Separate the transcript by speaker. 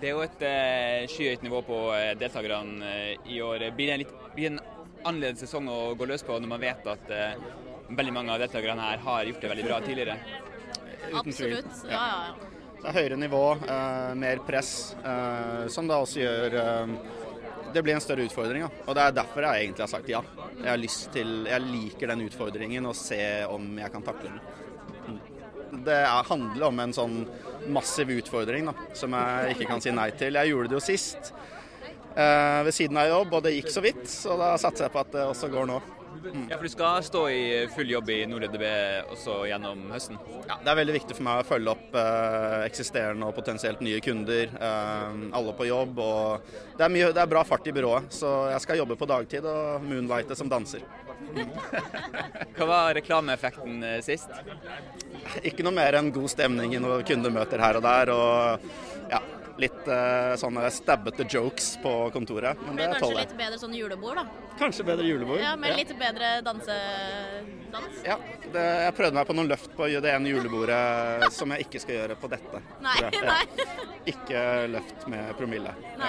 Speaker 1: Det er jo et eh, skyhøyt nivå på eh, deltakerne eh, i år. Blir det en, litt, blir det en annerledes sesong å gå løs på når man vet at eh, veldig mange av deltakerne her har gjort det veldig bra tidligere?
Speaker 2: Uten tvil.
Speaker 3: Absolutt. Ja, ja, ja.
Speaker 2: Det er høyere nivå, eh, mer press, eh, som da også gjør eh, Det blir en større utfordring. Ja. Og det er derfor jeg egentlig har sagt ja. Jeg, har lyst til, jeg liker den utfordringen og se om jeg kan takle den. Mm. Det er, handler om en sånn massiv utfordring da, som jeg ikke kan si nei til. Jeg gjorde det jo sist eh, ved siden av jobb, og det gikk så vidt, så da satser jeg på at det også går nå.
Speaker 1: Ja, for du skal stå i full jobb i Nord EDB også gjennom høsten.
Speaker 2: Ja, det er veldig viktig for meg å følge opp eh, eksisterende og potensielt nye kunder. eh, alle på jobb. Og det, er mye, det er bra fart i byrået, så jeg skal jobbe på dagtid og moonlighte som danser.
Speaker 1: Hva var reklameeffekten eh, sist?
Speaker 2: Ikke noe mer enn god stemning i noen kundemøter her og der. Og ja, litt eh, sånne stabbete jokes på kontoret. Men
Speaker 3: Det
Speaker 2: det
Speaker 3: er kanskje
Speaker 2: tåler
Speaker 3: litt
Speaker 2: jeg.
Speaker 3: bedre sånn julebord, da.
Speaker 2: Kanskje bedre julebord.
Speaker 3: Ja, Med litt bedre dansedans.
Speaker 2: Ja, det, jeg prøvde meg på noen løft på det ene julebordet som jeg ikke skal gjøre på dette.
Speaker 3: Nei,
Speaker 2: tror jeg. Ja.
Speaker 3: nei.
Speaker 2: Ikke løft med promille.